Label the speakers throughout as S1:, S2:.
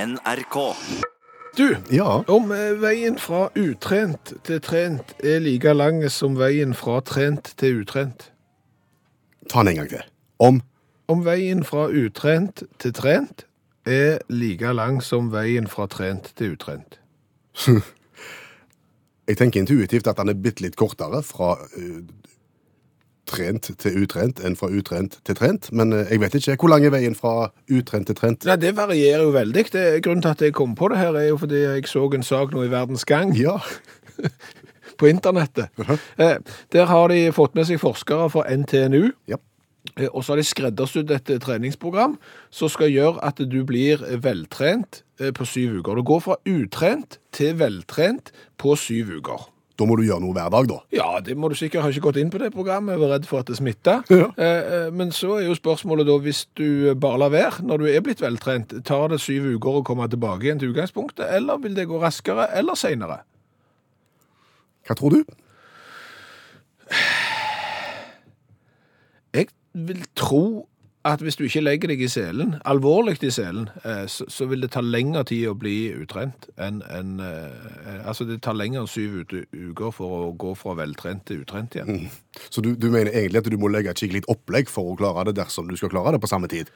S1: NRK.
S2: Du,
S3: Ja.
S2: om eh, veien fra utrent til trent er like lang som veien fra trent til utrent.
S3: Ta den en gang til. Om.
S2: Om veien fra utrent til trent er like lang som veien fra trent til utrent.
S3: Jeg tenker intuitivt at den er bitte litt kortere fra eh, trent til utrent enn fra utrent til trent, men eh, jeg vet ikke hvor lang er veien fra utrent til trent.
S2: Nei, Det varierer jo veldig. Det, grunnen til at jeg kom på det her, er jo fordi jeg så en sak nå i Verdens Gang
S3: Ja.
S2: på internettet. Eh, Der har de fått med seg forskere fra NTNU.
S3: ja.
S2: Eh, Og så har de skreddersydd et eh, treningsprogram som skal gjøre at du blir eh, veltrent eh, på syv uker. Du går fra utrent til veltrent på syv uker.
S3: Da må du gjøre noe hver dag, da.
S2: Ja, det må du sikkert ha ikke gått inn på det programmet, jeg var redd for at det smitta.
S3: Ja.
S2: Men så er jo spørsmålet da, hvis du eh, bare lar være når du er blitt veltrent, tar det syv uker å komme tilbake igjen til utgangspunktet, eller vil det gå raskere eller seinere?
S3: Hva tror du?
S2: Jeg vil tro at hvis du ikke legger deg i selen, alvorlig i selen, eh, så, så vil det ta lengre tid å bli utrent enn enn, eh, Altså, det tar lengre enn syv ute- uker for å gå fra veltrent til utrent igjen.
S3: Så du, du mener egentlig at du må legge et skikkelig opplegg for å klare det dersom du skal klare det på samme tid?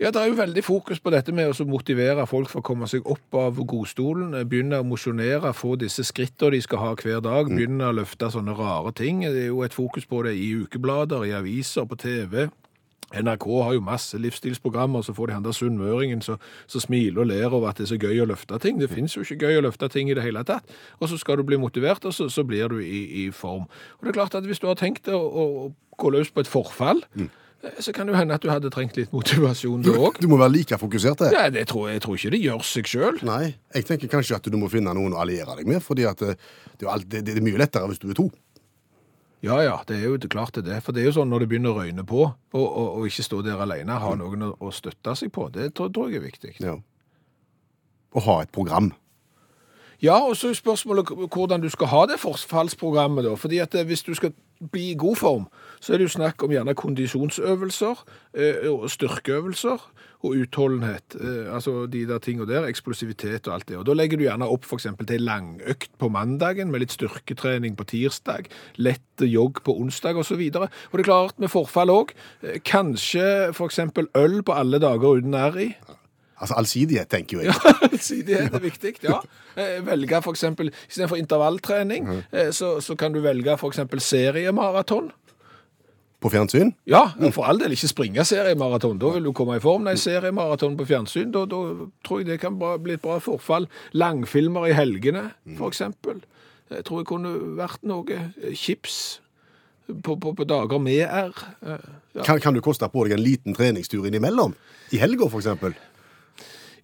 S2: Ja, det er jo veldig fokus på dette med å så motivere folk for å komme seg opp av godstolen, eh, begynne å mosjonere, få disse skrittene de skal ha hver dag, begynne å løfte sånne rare ting. Det er jo et fokus på det i ukeblader, i aviser, på TV. NRK har jo masse livsstilsprogrammer, så får de han der sunnmøringen som som smiler og ler over at det er så gøy å løfte ting. Det finnes jo ikke gøy å løfte ting i det hele tatt. Og så skal du bli motivert, og så, så blir du i, i form. Og det er klart at hvis du har tenkt å, å å gå løs på et forfall, eh, så kan det jo hende at du hadde trengt litt motivasjon da òg.
S3: Du må være like fokusert til.
S2: Ja, det tror jeg, jeg tror ikke det gjør seg sjøl.
S3: Nei, jeg tenker kanskje at du må finne noen å alliere deg med, fordi at eh, det er, jo alt, det, det er mye lettere hvis du er to.
S2: Ja, ja, det er jo klart det er det. For det er jo sånn når det begynner å røyne på, og, og, og ikke stå der alene, ha noen å, å støtte seg på. Det tror, tror jeg er viktig.
S3: Ja. Å ha et program.
S2: Ja, og så er spørsmålet k- hvordan du skal ha det forfallsprogrammet da. Fordi at eh, hvis du skal bli i god form, så er det jo snakk om gjerne kondisjonsøvelser, eh, og styrkeøvelser, og utholdenhet. Eh, Altså de der tingene der, eksplosivitet og alt det. Og da legger du gjerne opp for eksempel til en langøkt på mandagen, med litt styrketrening på tirsdag, lett jogg på onsdag og så videre. Og det er klart med forfall også, eh, kanskje for eksempel øl på alle dager uten R i.
S3: Altså allsidighet, tenker jo jeg.
S2: Allsidighet er viktig, ja. Eh, Velge for eksempel, i stedet for intervalltrening, eh, så, så kan du velge for eksempel seriemaraton.
S3: På fjernsyn.
S2: Ja, for all del ikke springe seriemaraton, da vil du komme i form. Nei, seriemaraton på fjernsyn, da, da tror jeg det kan bra, bli et bra forfall. Langfilmer i helgene, for eksempel. Jeg tror jeg kunne vært noe. Eh, Chips på, på, på dager med R. Eh, Ja,
S3: Kan, kan du koste på deg en liten treningstur innimellom? I helga, for eksempel.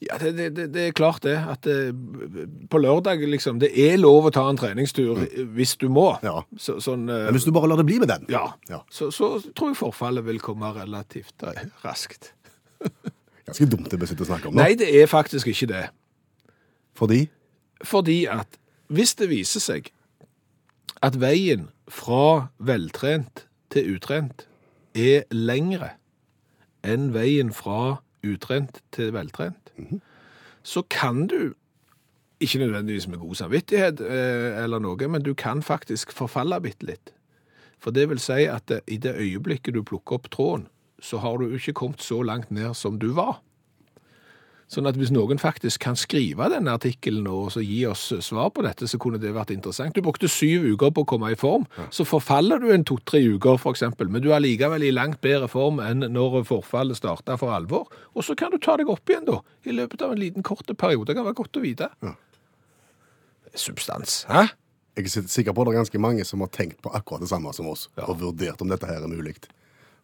S2: ja det, det, det, det er klart det, at eh, på lørdag liksom, det er lov å ta en treningstur eh, hvis du må.
S3: Ja.
S2: Så, sånn, eh,
S3: Men hvis du bare lar det bli med den.
S2: ja.
S3: Ja.
S2: Så, så tror jeg forfallet vil komme relativt eh, raskt.
S3: Ganske dumt det vi sitter og snakker om nå.
S2: Nei, det er faktisk ikke det.
S3: Fordi
S2: Fordi at hvis det viser seg at veien fra veltrent til utrent er lengre enn veien fra utrent til veltrent, så kan du, ikke nødvendigvis med god samvittighet eh, eller noe, men du kan faktisk forfalle bitte litt. For det vil si at eh, i det øyeblikket du plukker opp tråden, så har du jo ikke kommet så langt ned som du var. Sånn at hvis noen faktisk kan skrive denne artikkelen og så gi oss eh, svar på dette, så kunne det vært interessant. Du brukte syv uker på å komme i form, så forfaller du en to-tre uker for eksempel, men du er likevel i langt bedre form enn når forfallet startet for alvor, og så kan du ta deg opp igjen da, i løpet av en liten korte periode. Det kan være godt å vite.
S3: Ja.
S2: Substans, hæ?
S3: jeg er sit- sikker på det er ganske mange som har tenkt på akkurat det samme som oss, og vurdert om dette her er mulig.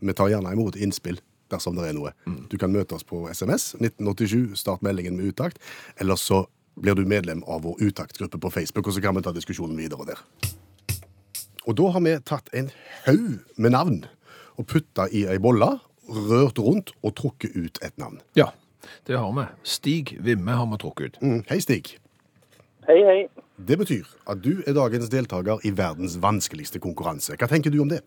S3: Vi tar gjerne imot innspill dersom det er noe. Du kan møte oss på SMS 1987, start meldingen med utakt, eller så blir du medlem av vår utaktgruppe på Facebook, og så kan vi ta diskusjonen videre der. Og da har vi tatt en haug med navn og putta i ei bolle, rørt rundt og trukket ut et navn.
S2: Ja, det har vi. Stig Vimme har vi trukket ut.
S3: Mm. Hei, Stig.
S4: Hei, hei.
S3: Det betyr at du er dagens deltaker i verdens vanskeligste konkurranse. Hva tenker du om det?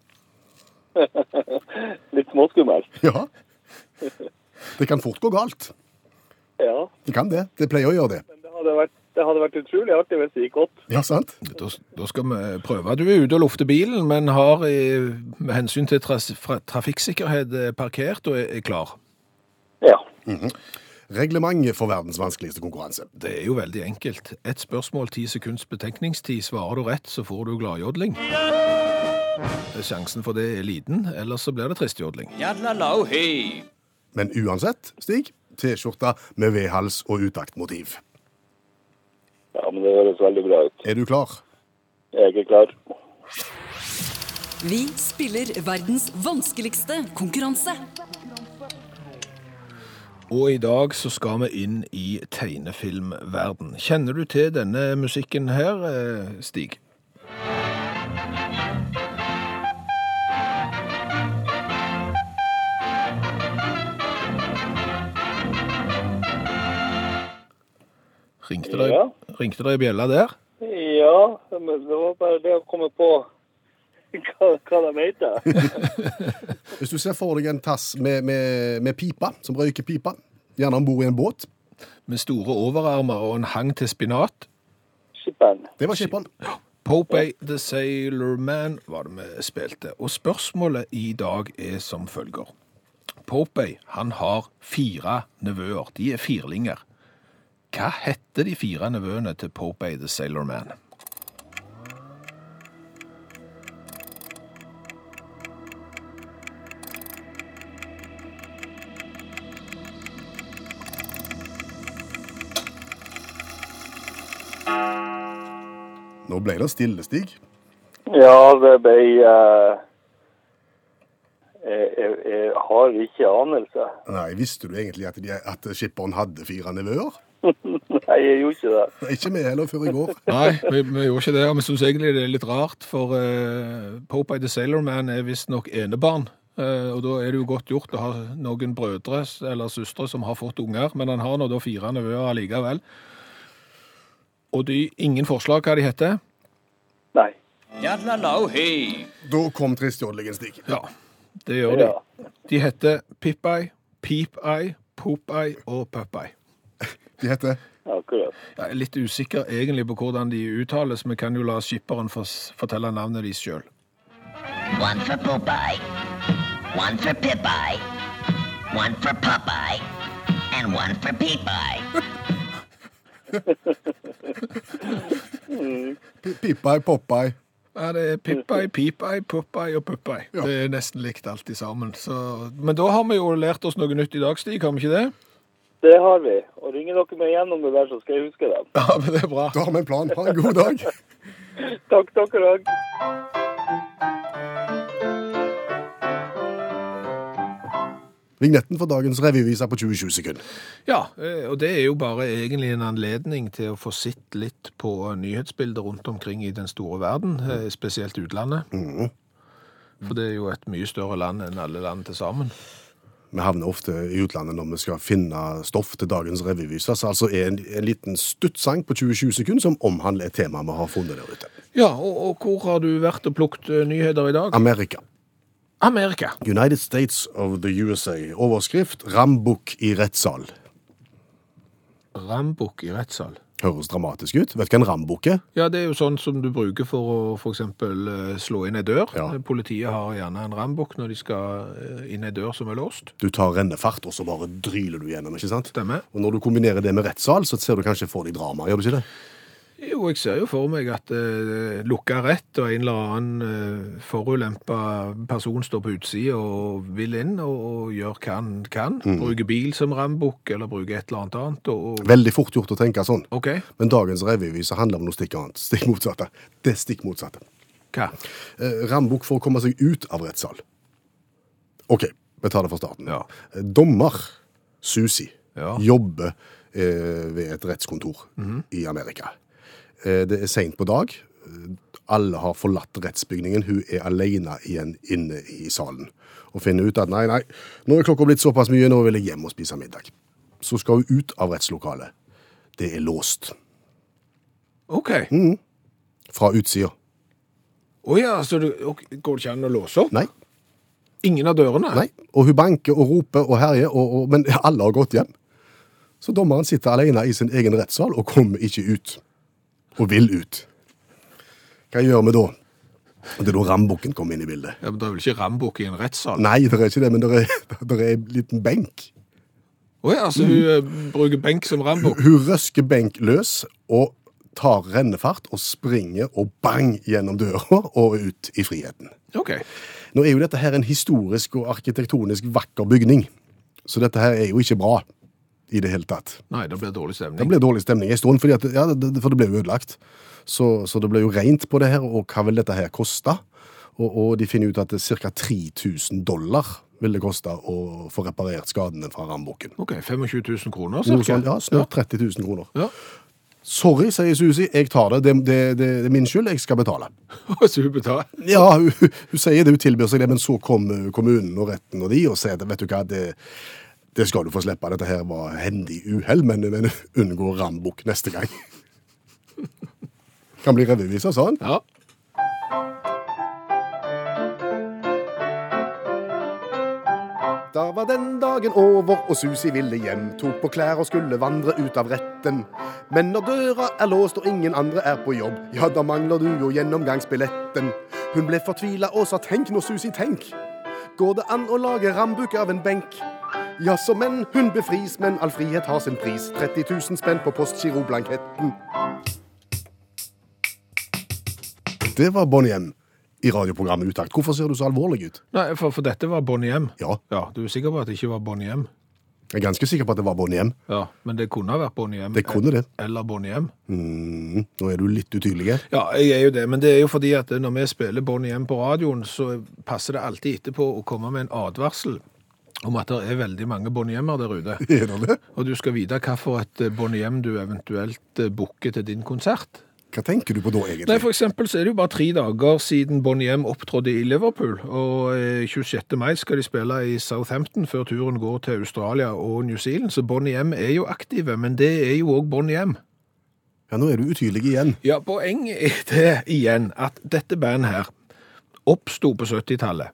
S4: Litt småskummelt.
S3: Ja. Det kan fort gå galt.
S1: Ja,
S3: Det kan det. Det pleier å gjøre det.
S1: men det hadde vært, det hadde vært utrolig artig hvis det gikk godt.
S3: Ja, sant?
S2: Da, da skal vi prøve. Du er ute og lufter bilen, men har eh, med hensyn til tras- fra- trafikksikkerhet eh, parkert og er er klar.
S1: Ja.
S3: Reglementet for verdens vanskeligste konkurranse.
S2: Det er jo veldig enkelt. Ett spørsmål, ti sekunds betenkningstid. Svarer du rett, så får du gladjodling. Eh, Sjansen for det er liten, ellers så blir det tristjodling.
S4: Yadlalau hei.
S3: Men uansett, Stig, T-skjorte med V-hals og utaktmotiv.
S1: ja, men det høres veldig bra ut.
S3: Er du klar?
S1: Jeg er ikke klar.
S5: Vi spiller verdens vanskeligste konkurranse.
S2: Og i dag så skal vi inn i tegnefilmverden. Kjenner du til denne musikken her, eh, Stig? Ringte det,
S1: Ja.
S2: ringte det i bjella der?
S1: Ja, men det var bare det å komme på hva, hva de heter.
S3: Hvis du ser for deg en tass med, med, med pipa, som røyker pipa, gjerne om bord i en båt
S2: Med store overarmer og en hang til spinat.
S1: Skipperen.
S3: Det var skipperen.
S2: Popeye the Sailor Man var det vi spilte. Og spørsmålet i dag er som følger. Popeye han har fire nevøer. De er firlinger. Hva heter de fire nevøene til Popeye the Sailor Man?
S3: Nå ble det stille, Stig.
S1: Ja, det ble eh, jeg, jeg, jeg har ikke anelse.
S3: Nei, Visste du egentlig at, de, at skipperen hadde fire nevøer?
S1: Nei, jeg gjorde ikke det.
S3: Nei, Ikke vi heller før i går.
S2: Nei, vi, vi gjorde ikke det. og Vi syns egentlig det er litt rart, for eh, Popeye the Sailor Man er visstnok enebarn. Eh, og da er det jo godt gjort å ha noen brødre s- eller søstre som har fått unger, men han har nå da fire nevøer allikevel. Og de, ingen forslag hva de heter.
S1: Nei.
S4: Yadlalau hei.
S3: Da kom tristjodlingen, Stig.
S2: Ja, det gjør de.
S1: Ja.
S2: De heter Pip-Eye, Peep-Eye, Poop-Eye og Pup-Eye.
S3: De heter
S1: Akkurat.
S2: Jeg er litt usikker egentlig på hvordan de uttales, men kan jo la skipperen fors- fortelle navnet de sjøl.
S6: One for Popeye, one for Pipeye, one for Popeye, and one for Peepeye.
S3: Pi- Pipeye, Popeye.
S2: Ja, det er Pip-Eye, Peep-Eye, Pup-Eye og Pup-Eye.
S3: Ja.
S2: Det er nesten likt alt i sammen. Så... Men da har vi jo lært oss noe nytt i dag, Stig, har vi ikke det?
S1: Det har vi. Og ringer dere meg gjennom det der, så skal jeg huske dem.
S2: Ja, men det er bra.
S3: Da har vi en plan. Ha en god dag.
S1: Takk dere òg.
S3: Vignetten for dagens revyvise er på 20-20 sekunder.
S2: Ja, eh, og det er jo bare egentlig en anledning til å få sett litt på nyhetsbildet rundt omkring i den store verden, eh, spesielt utlandet. For det er jo et mye større land enn alle land til sammen.
S3: Vi havner ofte i utlandet når vi skal finne stoff til dagens revyvise. Så altså er en, en liten stuttsang på 20-20 sekunder som omhandler et tema vi har funnet der ute.
S2: Ja, og, og hvor har du vært og plukket eh, nyheter i dag?
S3: Amerika.
S2: Amerika.
S3: United States of the USA. Overskrift Rambukk i rettssal.
S2: Rambukk i rettssal.
S3: Høres dramatisk ut. Vet du hva en rambukk er?
S2: Ja, det er jo sånn som du bruker for å for eksempel eh, slå inn ei dør.
S3: Ja.
S2: Politiet har gjerne en rambukk når de skal eh, inn ei dør som er låst.
S3: Du tar rennefart, og så bare dryler du gjennom, ikke sant?
S2: Stemmer.
S3: Og når du kombinerer det med rettssal, så ser du kanskje for deg drama, gjør du ikke det?
S2: Jo, jeg ser jo for meg at eh, lukka rett og en eller annen eh, forulempa person står på utsida og vil inn og, og gjør hva han kan. Bruker bil som rambukk eller bruker et eller annet annet. Og, og,
S3: Veldig fort gjort å tenke sånn.
S2: OK,
S3: Men dagens revyvise handler om noe stikk annet. Stikk motsatte. Det er stikk motsatte.
S2: hva?
S3: Eh, Rambukk for å komme seg ut av rettssal. OK, vi tar det fra starten.
S2: Ja.
S3: Eh, Dommer Susi
S2: Ja. Mhm.
S3: jobber eh, ved et rettskontor i Amerika. Eh, det er seint på dag. Eh, Alle har forlatt rettsbygningen. Hun er alene igjen inne i salen. Og finner ut at nei, nei, nå er klokka blitt såpass mye, nå vil jeg hjem og spise middag. Så skal hun ut av rettslokalet. Det er låst.
S2: OK. Å
S3: Fra utsida.
S2: ja, så du, ok, går det ikke an å låse opp?
S3: Nei.
S2: Ingen av dørene?
S3: Nei, og hun banker og roper og herjer, og, og, men alle har gått hjem. Så dommeren sitter alene i sin egen rettssal og kommer ikke ut. Og vil ut. Hva gjør vi da? Og Det er da rambukken kommer inn i bildet.
S2: Ja, men Det er vel ikke rambukk i en rettssal?
S3: Nei, det er ikke det, men det er, det er en liten benk.
S2: Å ja, så hun eh, bruker benk som rambukk?
S3: Hun røsker benk løs og tar rennefart og springer og bang gjennom døra og ut i friheten.
S2: OK.
S3: Nå er jo dette her en historisk og arkitektonisk vakker bygning, så dette her er jo ikke bra i det hele tatt.
S2: Nei, det blir dårlig stemning.
S3: Det ble dårlig stemning en stund, fordi at, ja, det, det- for det ble jo ødelagt. Så, så det ble jo rent på det her, og hva vil dette her koste? Og, og de finner ut at det ca. 3000 dollar vil det koste å få reparert skadene fra rambukken.
S2: OK, 25 000 kroner
S3: Noe
S2: cirka?
S3: sånt, ja, snart 30 000 kroner.
S2: Ja.
S3: Sorry, sier Susi, jeg tar det. Det, det, det er min skyld, jeg skal betale.
S2: så hun betaler.
S3: Ja, hun, hun sier det, hun tilbyr seg det, men så kom eh, kommunen og retten og de og sier at vet du hva, det, det skal du få slippe, dette her var hendig uhell, men, men unngå rambukk neste gang. Kan bli revyviser, sa han.
S2: Ja.
S3: Da var den dagen over, og Susi ville hjem. Tok på klær og skulle vandre ut av retten. Men når døra er låst og ingen andre er på jobb, ja, da mangler du jo gjennomgangsbilletten. Hun ble fortvila og sa tenk nå, Susi, tenk. Går det an å lage rambuk av en benk? Jaså, men hun befris, men all frihet har sin pris. 30 000 spenn på postgiroblanketten. Det var Bonnie M. i radioprogrammet Utakt. Hvorfor ser du så alvorlig ut?
S2: Nei, for, for dette var Bonnie M.
S3: Ja,
S2: Ja, du er sikker på at det ikke var Bonnie M?
S3: jeg er ganske sikker på at det var Bonnie M.
S2: Ja, men det kunne ha vært Bonnie M.
S3: Det kunne det.
S2: Eller Bonnie M.
S3: Mm, nå er du litt utydelig. her.
S2: Ja, jeg er jo det, men det er jo fordi at når vi spiller Bonnie M på radioen, så passer det alltid etterpå å komme med en advarsel om at det er veldig mange Bonnie M-er der ute.
S3: Er det det?
S2: Og du skal vite hvilket eh, Bonnie M du eventuelt eh, booker til din konsert.
S3: Hva tenker du på da, egentlig?
S2: Nei, for eksempel så er det jo bare tre dager siden Bonnie M opptrådde i Liverpool, og eh, 26. mai skal de spille i Southampton før turen går til Australia og New Zealand, så Bonnie M er jo aktive, men det er jo også Bonnie M.
S3: Ja, Nå er du utydelig igjen.
S2: Ja, poenget er det igjen at dette bandet her oppsto på 70-tallet.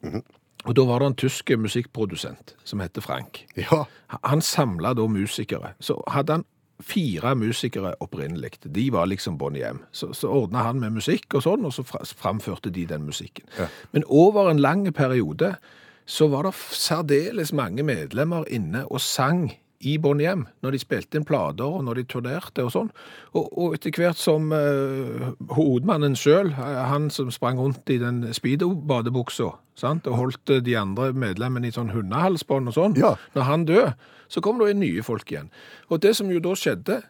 S2: Og da var det en tysk musikkprodusent som heter Frank.
S3: Ja,
S2: Ha- Han samla da musikere. Så hadde han fire musikere opprinnelig. De var liksom Bonnie M. Så, så ordna han med musikk og sånn, og så fra- framførte de den musikken. Men over en lang periode så var det f- særdeles mange medlemmer inne og sang i Bonnie M når de spilte inn plater og når de turnerte og sånn. Og, og etter hvert som eh, hovedmannen sjøl, han som sprang rundt i den speedo-badebuksa sant, og holdt eh, de andre medlemmene i sånn hundehalsbånd og sånn,
S3: Ja.
S2: når han dør, så kommer det inn nye folk igjen. Og det som jo da skjedde,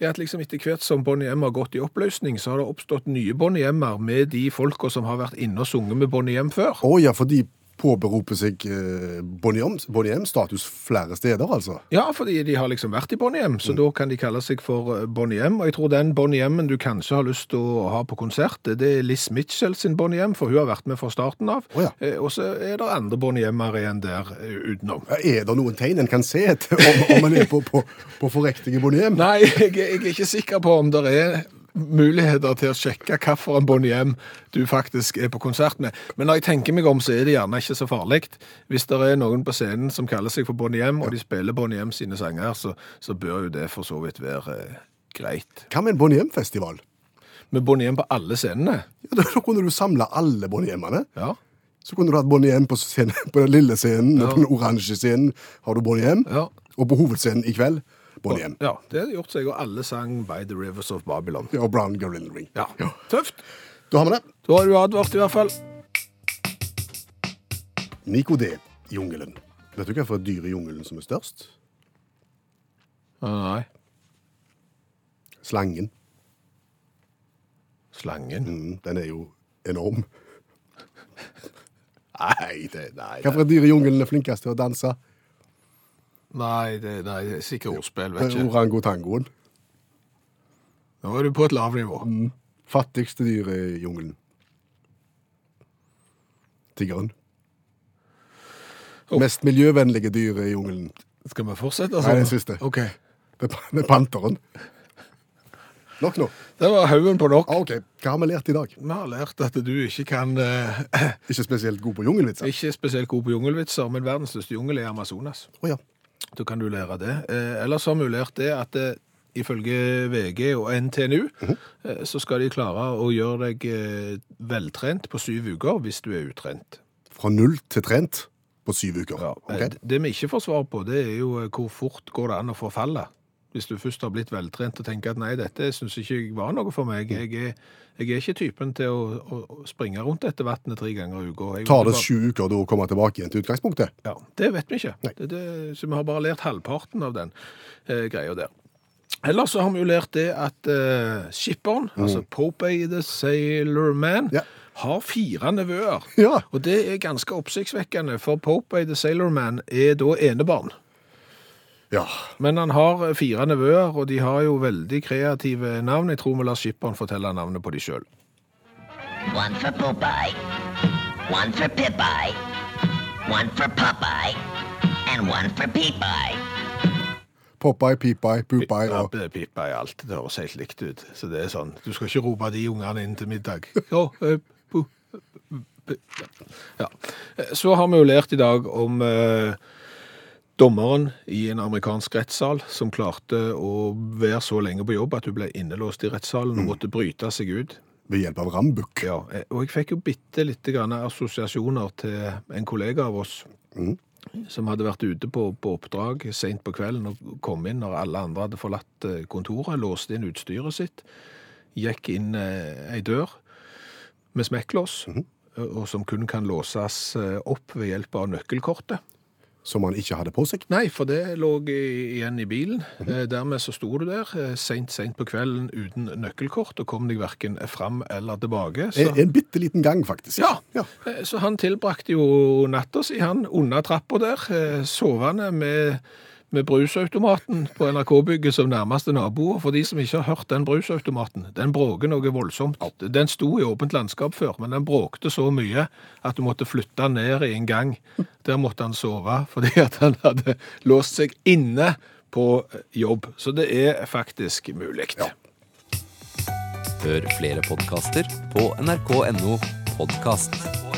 S2: er at liksom etter hvert som Bonnie M har gått i oppløsning, så har det oppstått nye Bonnie M-er med de folka som har vært inne og sunget med Bonnie M før.
S3: Å ja, for de påberoper seg eh, Bonnie M- Bonnie M-status flere steder, altså.
S2: Ja, fordi de har liksom vært i Bonnie M,
S3: Mm.
S2: så da kan de kalle seg for eh, Bonnie M. Og jeg tror den Bonnie M-en du kanskje har lyst til å ha på konsert, det er Liss Mitchell sin Bonnie M, for hun har vært med fra starten av.
S3: Å ja.
S2: Eh, Og så er det andre Bonnie M-er igjen der eh, utenom.
S3: Ja, Er det noen tegn en kan se etter om, om en er på, på, på forrektige Bonnie M?
S2: Nei, jeg, er- jeg er ikke sikker på om det er muligheter til å sjekke hvilken Bonnie M du faktisk er på konsert med. Men når jeg tenker meg om, så er det gjerne ikke så farlig. Hvis det er noen på scenen som kaller seg for Bonnie M, og de spiller Bonnie M sine sanger, så, så bør jo det for så vidt være eh, greit.
S3: Hva med en Bonnie M-festival?
S2: Med Bonnie M på alle scenene.
S3: Ja, da, da kunne du samle alle Bonnie M-ene.
S2: Ja.
S3: Så kunne du hatt Bonnie M på, scenen, på den lille scenen, og på den oransje scenen har du Bonnie M.
S2: Ja.
S3: Og på hovedscenen i kveld, Bonnie M.
S2: ja. Det har de gjort seg, og alle sang By the Rivers of Babylon.
S3: Ja, og Brown Girl in the Ring.
S2: Ja. Tøft.
S3: Da har vi det.
S2: Da har du advart, i hvert fall.
S3: Nico D. Jungelen. Vet du hva for et dyr i jungelen som er størst?
S2: Nei.
S3: Slangen.
S2: Slangen.
S3: Mm, den er jo enorm.
S2: Nei, det, nei,
S3: Hva for et dyr i jungelen er flinkest til å danse?
S2: Nei, det, nei, det er sikkert ordspill, vet ikke.
S3: Orangotangoen.
S2: Nå er du på et lavt nivå.
S3: Mm. Fattigste dyr i jungelen. Tiggeren.
S2: Oh.
S3: Mest miljøvennlige dyr i jungelen.
S2: Skal vi fortsette? sånn?
S3: Nei, den siste.
S2: Ok.
S3: Det er pan- det er panteren. Nok nå.
S2: Det var haugen på nok.
S3: Ah, ok, Hva har vi lært i dag?
S2: Vi har lært at du ikke kan eh,
S3: Ikke spesielt god på jungelvitser.
S2: Ikke er spesielt god på jungelvitser, men verdens største jungel er Amazonas.
S3: Å ja.
S2: Da kan du lære det. Eh, ellers har vi lært det at eh, ifølge VG og NTNU
S3: Mhm.
S2: eh, så skal de klare å gjøre deg eh, veltrent på syv uker hvis du er utrent.
S3: Fra null til trent på syv uker.
S2: Ja,
S3: Ok.
S2: eh, Det vi ikke får svar på, det er jo eh, hvor fort går det an å forfalle. Hvis du først har blitt veltrent og tenker at nei, dette syns ikke jeg var noe for meg. Jeg er, jeg er ikke typen til å, å- å springe rundt dette vannet tre ganger i uka. Jeg
S3: Tar
S2: vil
S3: det
S2: bare-
S3: sju uker da å komme tilbake igjen til utgangspunktet?
S2: Ja, det vet vi ikke.
S3: Nei.
S2: Det, det, så vi har bare lært halvparten av den eh, greia der. Ellers så har vi jo lært det at eh, skipperen, altså Popeye the Sailor Man,
S3: Mm. Ja.
S2: har fire nevøer.
S3: Ja.
S2: Og det er ganske oppsiktsvekkende, for Popeye the Sailor Man er da enebarn.
S3: Ja.
S2: Men han har fire nevøer, og de har jo veldig kreative navn. Jeg tror vi lar skipperen fortelle navnet på de sjøl.
S6: One for Popeye, one for Pipeye, one for Popeye, and one for Peepeye.
S3: Popeye, Peepeye, Poopeye og
S2: Ja, pipa i alt. Det høres helt likt ut. Så det er sånn, du skal ikke rope de ungene inn til middag. Ja, eh, pu- pu- ja. Eh, Så har vi jo lært i dag om eh, dommeren i en amerikansk rettssal som klarte å være så lenge på jobb at hun ble innelåst i rettssalen og måtte bryte seg ut.
S3: ved hjelp av rambukk.
S2: Ja, eh, og jeg fikk jo bitte lite grann assosiasjoner til en kollega av oss som hadde vært ute på, på oppdrag sent på kvelden og kom inn når alle andre hadde forlatt eh, kontoret, låste inn utstyret sitt, gikk inn eh, ei dør med smekklås, eh, og som kun kan låses eh, opp ved hjelp av nøkkelkortet.
S3: Som han ikke hadde på seg.
S2: Nei, for det lå i- igjen i bilen. Eh, Dermed så sto du der eh, sent, sent på kvelden uten nøkkelkort, og kom deg hverken fram eller tilbake. så-
S3: En, en bitte liten gang, faktisk.
S2: ja. Eh, Så han tilbrakte jo natta si, han, under trappa der, eh, sovende med, med brusautomaten på NRK-bygget som nærmeste naboer. For de som ikke har hørt den brusautomaten, den bråker noe voldsomt. Den sto i åpent landskap før, men den bråkte så mye at du måtte flytte han ned i en gang. Der måtte han sove, fordi at han hadde låst seg inne på jobb. Så det er faktisk mulig.
S7: Hør flere podkaster på nrk.no podkast.